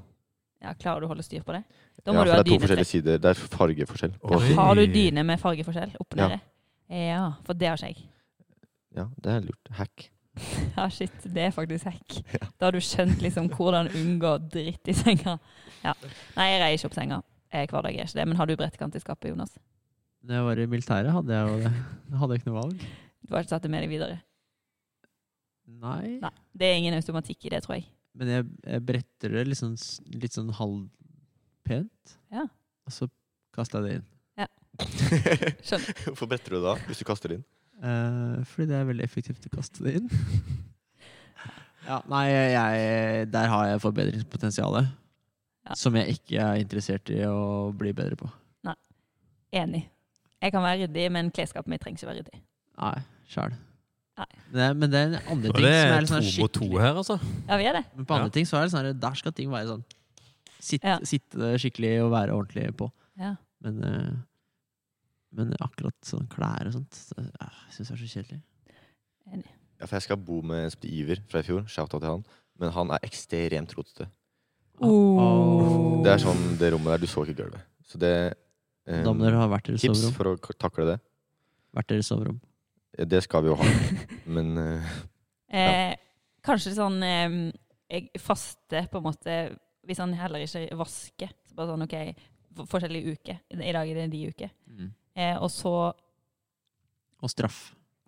Ja, klarer du å holde styr på det? Da Ja, må for du det ha er to dyne til. forskjellige sider. Det er fargeforskjell. på Oi. sidene. Har du dyne med fargeforskjell opp og Ja. nede? Ja, for det har ikke jeg. Ja, det er lurt. Hack. Ja, shit, det er faktisk hack. Da har du skjønt liksom hvordan unngå dritt i senga. Ja. Nei, jeg reier ikke opp senga. Eh, Hver dag er ikke det. Men har du brettkant i skapet, Jonas? Da jeg var i militæret, hadde jeg jo det. Jeg hadde ikke noe valg. Du har ikke tatt det med deg videre? Nei. Nei. Det er ingen automatikk i det, tror jeg. Men jeg, jeg bretter det litt sånn, s- litt sånn halvpent. Ja. Og så kasta jeg det inn. Skjønner. Hvorfor bretter du det da, hvis du kaster det inn? Eh, fordi det er veldig effektivt å kaste det inn. Ja, nei, jeg, der har jeg forbedringspotensialet. Ja. Som jeg ikke er interessert i å bli bedre på. Enig. Jeg kan være ryddig, men klesskapet mitt trenger ikke være ryddig. Nei, sjæl. Nei. Men det er en andre Og ting det som er er litt to sånn mot to skikkelig her, altså. Ja, vi er det. Men på andre Ja. ting så er det sånn her, der skal ting være sånn sitt, Ja. Sitte skikkelig og være ordentlig på. Ja. Men, eh, men akkurat sånn klær og sånt så, eh, Jeg syns det er så kjedelig. Ja, for jeg skal bo med Espen Iver fra i fjor, shout-out til han. Men han er ekstremt rotete. Oh. Det er sånn, det rommet der, du så ikke gulvet. Så det eh, Da må dere ha hvert deres Tips soverom. for å k- takle det. Hvert deres soverom. Det skal vi jo ha. Men eh, Eh, kanskje sånn eh, Jeg faster på en måte Hvis han heller ikke vasker. Så bare sånn OK, for- forskjellige uker. I dag er det de uker. Mm. Eh, og så Og straff.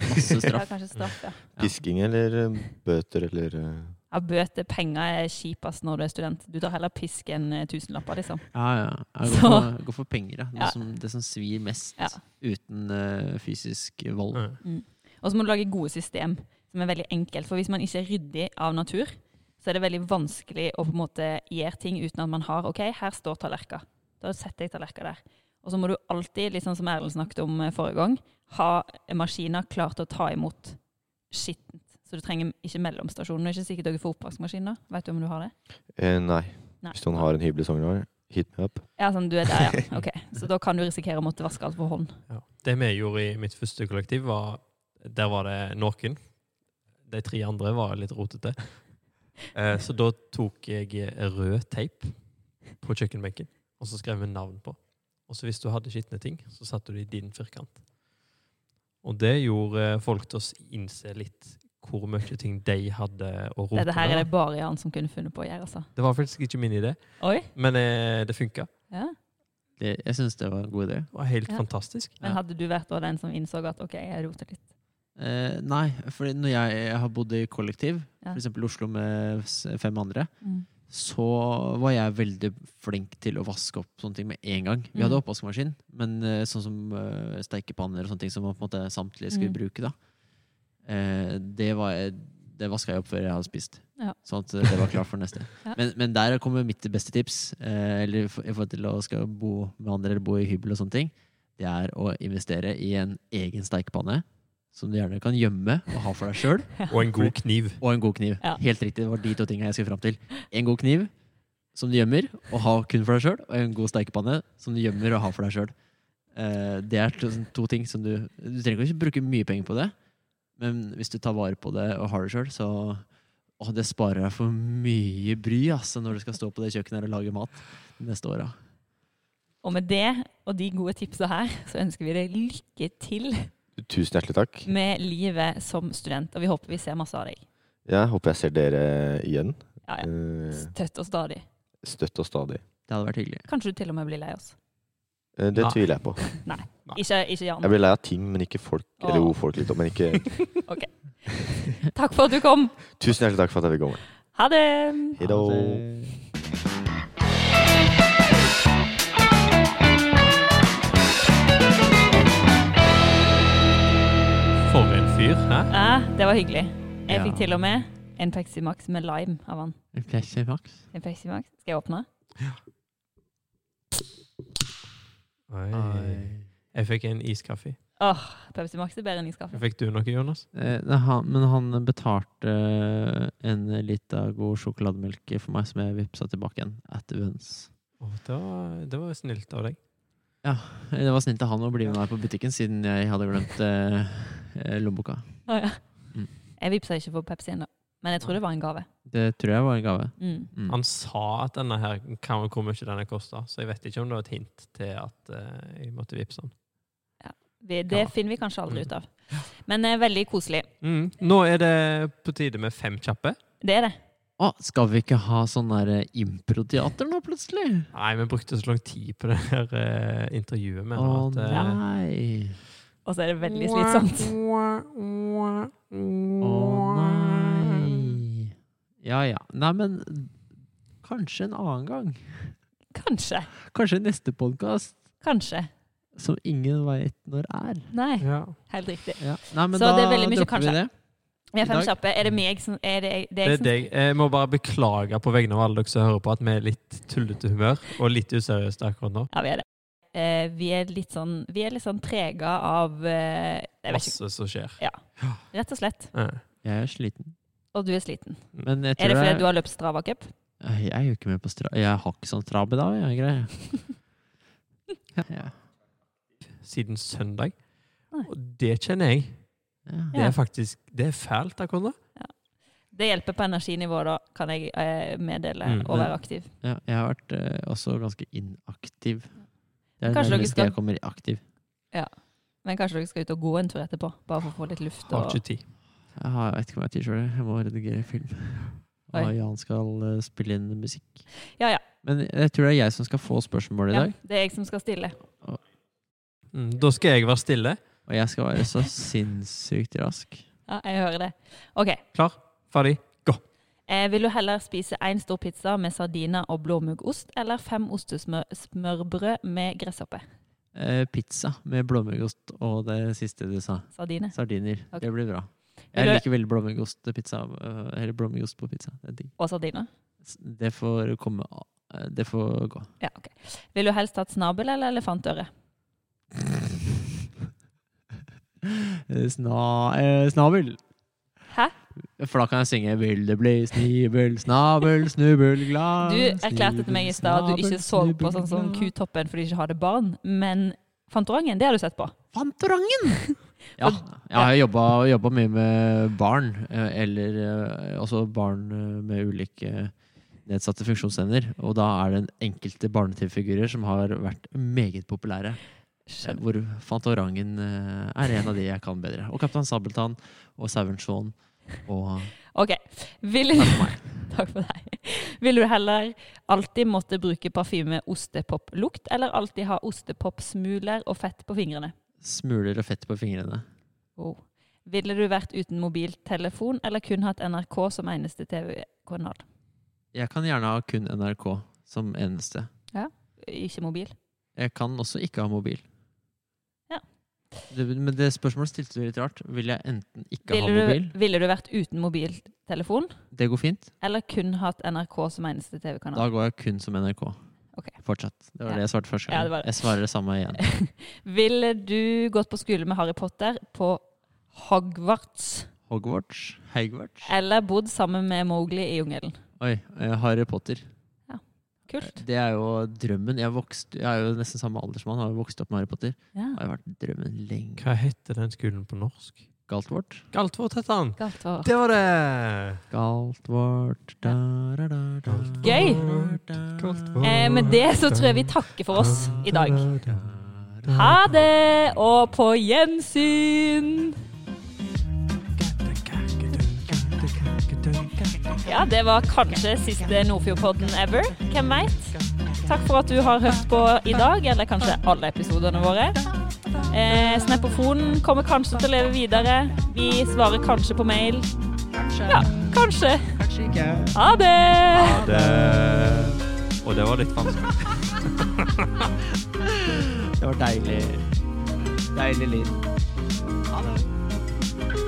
Masse ja, straff. kanskje straff, ja. Ja. Pisking eller eh, bøter eller eh, ja bøter, penger er kjipest når du er student. Du tar heller pisk enn eh, tusenlapper, liksom. Ja, ja. Jeg Så- går for, går for penger, ja. Det, Ja. som, det som svir mest Ja. uten eh, fysisk vold. Ja. Og så må du lage gode system, som er veldig enkelt. For hvis man ikke er ryddig av natur, så er det veldig vanskelig å på en måte gjøre ting uten at man har OK, her står tallerkener. Da setter jeg tallerkener der. Og så må du alltid, litt sånn som Erlend snakket om eh, forrige gang, ha maskiner klar til å ta imot skittent. Så du trenger ikke mellomstasjoner. Det er ikke sikkert dere får oppvaskmaskiner. Vet du om du har det? eh, Nei. Nei. Hvis noen har en hybel i Sogndal, hit me up. Ja, sånn, du er der, ja. Ok. Så da kan du risikere å måtte vaske alt på hånd. Ja. Det vi gjorde i mitt første kollektiv, var Der var det noen. De tre andre var litt rotete. Eh, så da tok jeg rød teip på kjøkkenbenken, og så skrev vi navn på. Og så hvis du hadde skitne ting, så satte du det i din firkant. Og det gjorde eh, folk til å innse litt hvor mye ting de hadde å rote Dette her er med. det bare Jan som kunne funnet på å gjøre, altså. Det var faktisk ikke min idé, Oi. men eh, det funka. Ja. Det, jeg syns det var en god idé. Det var helt Ja. fantastisk. Men Ja. hadde du vært da den som innså at OK, jeg roter litt? Eh, nei, for når jeg, jeg har bodd i kollektiv, Ja. for eksempel Oslo med s- fem andre, Mm. så var jeg veldig flink til å vaske opp sånne ting med en gang. Vi hadde Mm. oppvaskmaskin, men eh, sånn som eh, steikepanner og sånne ting som man på en måte samtlige skulle Mm. bruke, da. Eh, det var jeg- det vaska jeg opp før jeg hadde spist. Ja. Sånn at det var klart for neste. Ja. men, men der kommer mitt beste tips, eh, eller for- i forhold til å skal bo med andre eller bo i hybel og sånne ting, det er å investere i en egen steikepanne. Som du gjerne kan gjemme og ha for deg sjøl. Og en god kniv. Og en god kniv. Ja. Helt riktig, det var de to tingene jeg skulle fram til. En god kniv som du gjemmer og har kun for deg sjøl, og en god steikepanne som du gjemmer og har for deg sjøl. Det er to, sånn, to ting som du Du trenger ikke bruke mye penger på det, men hvis du tar vare på det og har det sjøl, så å, det sparer deg for mye bry altså, når du skal stå på det kjøkkenet her og lage mat de neste åra. Og med det og de gode tipsa her, så ønsker vi deg lykke til Tusen hjertelig takk. med livet som student. Og vi håper vi ser masse av deg. Jeg håper jeg ser dere igjen. Ja, ja. Eh, Støtt oss stadig. Støtt og stadig. Det hadde vært hyggelig. Kanskje du til og med blir lei oss. Eh, Det Nei. tviler jeg på. Nei. Ikke, ikke Jan. Jeg blir lei av ting, men ikke folk. Eller Åh. jo, folk litt, men ikke Takk for at du kom. Tusen hjertelig takk for at jeg fikk komme. Ha det. Hei da. Ha det. For en fyr, hæ? Ja, det var hyggelig. Jeg Ja. fikk til og med en Pepsi Max med lime av han. Pepsi Max. En Pepsi Max. Skal jeg åpne? Oi. Jeg fikk en iskaffe. Åh, Pepsi Max er bedre enn iskaffe. Fikk du noe, Jonas? Eh, nei, han- Men han betalte eh, en liter god sjokolademelk for meg, som jeg vippsa tilbake igjen. At events. Å, det, var, det var snilt av deg. Eh, Det var snilt av han å bli med meg på butikken, siden jeg hadde glemt eh, eh, lommeboka. Å, ja. Mm. Jeg vippsa ikke for Pepsi ennå, men jeg tror det var en gave. Det tror jeg var en gave. Mm. Mm. Han sa at denne her, kan- hvor mye denne kosta, så jeg vet ikke om det var et hint til at eh, jeg måtte vippse den. Vi, det Ja. finner vi kanskje aldri ut av. Men eh, veldig koselig. Mm. Nå er det på tide med fem kjappe. Det er det. Å, skal vi ikke ha sånn der eh, improteater nå, plutselig? Nei, vi brukte så lang tid på det her eh, intervjuet med Å henne at eh, nei. Og så er det veldig slitsomt. Å nei. Ja ja. Nei, men kanskje en annen gang. Kanskje. Kanskje neste podkast, Kanskje. som ingen veit når er. Nei, Ja. helt riktig. Ja. Nei, men Så da det er veldig mye dropper vi kanskje. det. Vi er I fem dag- kjappe. Er det meg som Er det, jeg- det, Det jeg er deg. Jeg må bare beklage på vegne av alle dere som hører på, at vi er litt tullete humør og litt useriøse akkurat nå. Ja, vi er det. Eh, vi er litt sånn Vi er litt sånn trega av eh, Jeg vet Masse som skjer. ikke. Rett og slett. Ja. Jeg er sliten. Og du er sliten. Men jeg Er tror det fordi jeg, du har løpt Strava Cup? Nei, jeg er jo ikke med på stra... Jeg har ikke sånn trabe da, jeg greier. Ja. Siden søndag. Nei. Og det kjenner jeg. Ja. Det Ja. er faktisk det er fælt akkurat nå. Det hjelper på energinivået, da, kan jeg eh, meddele, Mm, og men- være aktiv. Ja, jeg har vært eh, også ganske inaktiv. Det er det Kanskje dere nærmeste skal- jeg kommer i aktiv. Men kanskje dere skal ut og gå en tur etterpå, bare for å få litt luft. Har Og... ikke tid. Jeg har- jeg vet ikke om jeg har tid sjøl, jeg må redigere film. Oi. Og Jan skal eh, spille inn musikk. Ja, ja. Men jeg tror det er jeg som skal få spørsmålet i ja. dag. Det er jeg som skal stille. Mm, da skal jeg være stille. Og jeg skal være så sinnssykt rask. Ja, jeg hører det. OK. Klar, ferdig. Eh, vil du heller spise én stor pizza med sardiner og blåmuggost, eller fem ostesmørbrød med gresshoppe? Eh, pizza med blåmuggost og det siste du sa. Sardiner. Sardiner. Ok. Det blir bra. Vil Jeg du- liker veldig blåmuggost til pizza. eh, Eller blåmuggost på pizza. Det er digg. Og sardiner? S- Det får komme a- eh, Det får gå. Ja, OK. Vil du helst hatt snabel eller elefantøre? Eh, Sna, eh, snabel. Hæ? For da kan jeg synge 'Vil det bli snibel, snabel, snubbel, glad'. Du erklærte til meg i stad at du ikke så på sånn som Kutoppen fordi du ikke hadde barn, men Fantorangen, det har du sett på. Fantorangen! Ja, jeg har jobba, jobba mye med barn, eh, eller eh, også barn eh, med ulike nedsatte funksjonsevner. Og da er det en enkelte barne-TV-figurer som har vært meget populære. eh, Skjønner. Hvor Fantorangen eh, er en av de jeg kan bedre. Og Kaptein Sabeltann og Sauen Shaun og OK. Vil Takk for meg. Takk for deg. Vil du heller alltid måtte bruke parfyme med ostepoplukt, eller alltid ha ostepopsmuler og fett på fingrene? Smuler og fett på fingrene. Oh. Ville du vært uten mobiltelefon, eller kun hatt NRK som eneste TV-kanal? Jeg kan gjerne ha kun NRK som eneste. Ikke mobil. Jeg kan også ikke ha mobil. Ja. Det, men det spørsmålet stilte du litt rart. Vil jeg enten ikke ha Ville mobil? du, ville du vært uten mobiltelefon, Det går fint. eller kun hatt NRK som eneste TV-kanal? Da går jeg kun som NRK. Ok. Fortsatt. Det var Ja. det jeg svarte første gang. Ja, det var det. Jeg svarer det samme igjen. Ville du gått på skole med Harry Potter på Hogwarts? Hogwarts? Hogwarts? Eller bodd sammen med Mowgli i jungelen? Oi, eh, Harry Potter. Kult. Det er jo drømmen. Jeg, vokste, jeg er jo nesten samme alder som han, har jo vokst opp med Harry Potter. Ja. Det har jo vært drømmen lenge. Hva heter den skolen på norsk? Galtvort. Galtvort heter han. Galt var Det var det! Galtvort da, da, da, da, Gøy. da, Galtvort. Eh, med det så tror jeg vi takker for oss i dag. Ha det, og på gjensyn! Ja, det var kanskje siste Nordfjordpodden ever. Hvem veit? Takk for at du har hørt på i dag, eller kanskje alle episodene våre. Eh, Snappofonen kommer kanskje til å leve videre. Vi svarer kanskje på mail. Ja, kanskje. Ha det! Det- Og det var litt vanskelig. Det var deilig. Deilig lyd. Ha det.